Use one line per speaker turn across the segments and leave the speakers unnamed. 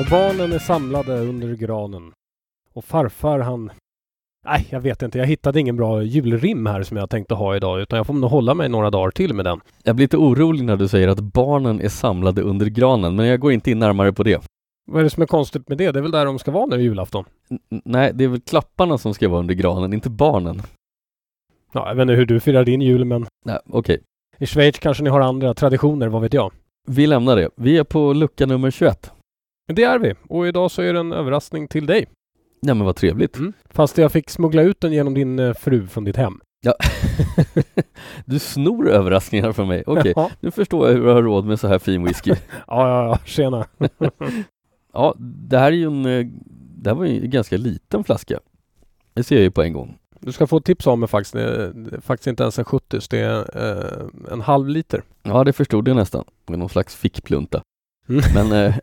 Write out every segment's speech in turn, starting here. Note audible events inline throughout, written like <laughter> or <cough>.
Och barnen är samlade under granen. Och farfar han... Nej, jag vet inte. Jag hittade ingen bra julrim här som jag tänkte ha idag utan jag får nog hålla mig några dagar till med den.
Jag blir lite orolig när du säger att barnen är samlade under granen, men jag går inte in närmare på det.
Vad är det som är konstigt med det? Det är väl där de ska vara nu i julafton?
N- nej, det är väl klapparna som ska vara under granen, inte barnen.
Ja, jag vet inte hur du firar din jul men
Nej, okej.
i Schweiz kanske ni har andra traditioner, vad vet jag?
Vi lämnar det. Vi är på lucka nummer 21.
Men det är vi. Och idag så är det en överraskning till dig.
Nej men vad trevligt. <laughs>
Mm. Fast jag fick smuggla ut den genom din eh, fru från ditt hem.
Ja. du snor överraskningar från mig. Okej,
<laughs> Ja,
nu förstår jag hur jag har råd med så här fin whisky.
ja, ja, tjena.
Ja, det här är ju en... eh, Det här var ju en ganska liten flaska. Det ser jag ju på en gång.
<laughs> Du ska få ett tips av mig faktiskt. Det är, det är faktiskt inte ens en 70 det är eh, en halv liter.
Ja, det förstod jag nästan. Det var Någon slags fickplunta.
Mm.
Men, eh,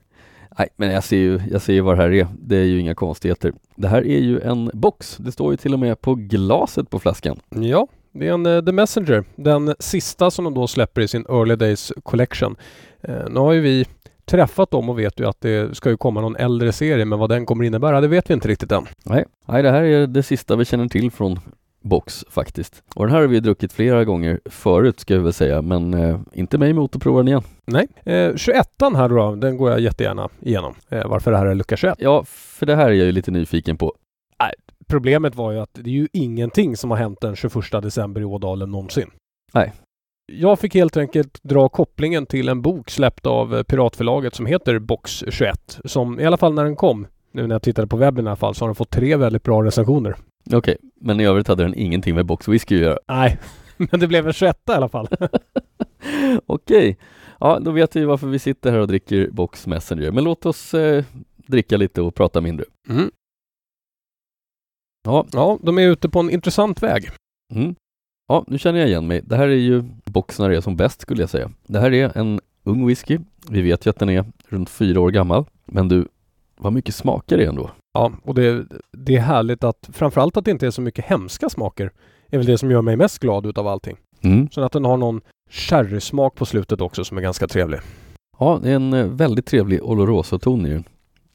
nej, men jag ser ju jag ser ju vad det här är. Det är ju inga konstigheter. Det här är ju en box. Det står ju till och med på glaset på flaskan.
Ja, det är en eh, The Messenger. Den sista som de då släpper i sin Early Days Collection. Eh, nu har ju vi träffat dem och vet ju att det ska ju komma någon äldre serie men vad den kommer innebära det vet vi inte riktigt än.
Nej, nej det här är det sista vi känner till från box faktiskt. Och den här har vi ju druckit flera gånger förut ska jag väl säga, men eh, inte mig emot att prova den igen.
Nej. Eh, 21 här då, den går jag jättegärna igenom. Eh, varför det här är lucka 21.
Ja, för det här är jag ju lite nyfiken på.
Problemet var ju att det är ju ingenting som har hänt den 21 december i Ådalen någonsin.
Nej.
Jag fick helt enkelt dra kopplingen till en bok släppt av eh, piratförlaget som heter Box 21 som i alla fall när den kom, nu när jag tittade på webben i alla fall, så har den fått tre väldigt bra recensioner.
Okej, men i övrigt hade den ingenting med box whisky att göra. <laughs>
Nej, <laughs> men det blev en 21 i alla fall.
Okej, ja då vet vi varför vi sitter här och dricker Box Messenger. Men låt oss eh, dricka lite och prata mindre. Ja,
Ja, de är ute på en intressant väg.
mm. ja, nu känner jag igen mig. Det här är ju box när det är som bäst skulle jag säga. Det här är en ung whisky. Vi vet ju att den är runt fyra år gammal. Men du, vad mycket smakar det ändå?
Ja, och det, det är härligt att framförallt att det inte är så mycket hemska smaker är väl det som gör mig mest glad utav allting.
Mm.
Sen att den har någon sherrysmak på slutet också som är ganska trevlig.
Ja, det är en eh, väldigt trevlig Oloroso-ton i den.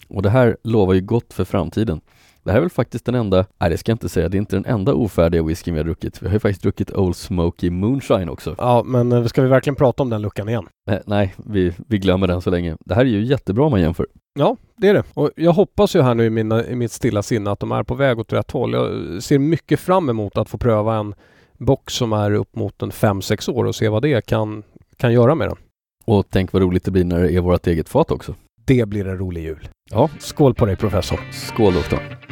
Och det här lovar ju gott för framtiden. Det här är väl faktiskt den enda, nej det ska jag inte säga, det är inte den enda ofärdiga whiskyn vi har druckit. Vi har ju faktiskt druckit Old Smoky Moonshine också.
Ja, men eh, ska vi verkligen prata om den luckan igen?
Nej, nej vi, vi glömmer den så länge. Det här är ju jättebra om man jämför.
Ja, det är det. Och jag hoppas ju här nu i, mina, i mitt stilla sinne att de är på väg åt rätt håll. Jag ser mycket fram emot att få pröva en box som är upp mot en 5-6 år och se vad det kan, kan göra med den.
Och tänk vad roligt det blir när det är vårt eget fat också.
Det blir en rolig jul.
Ja,
Skål på dig professor.
skål då.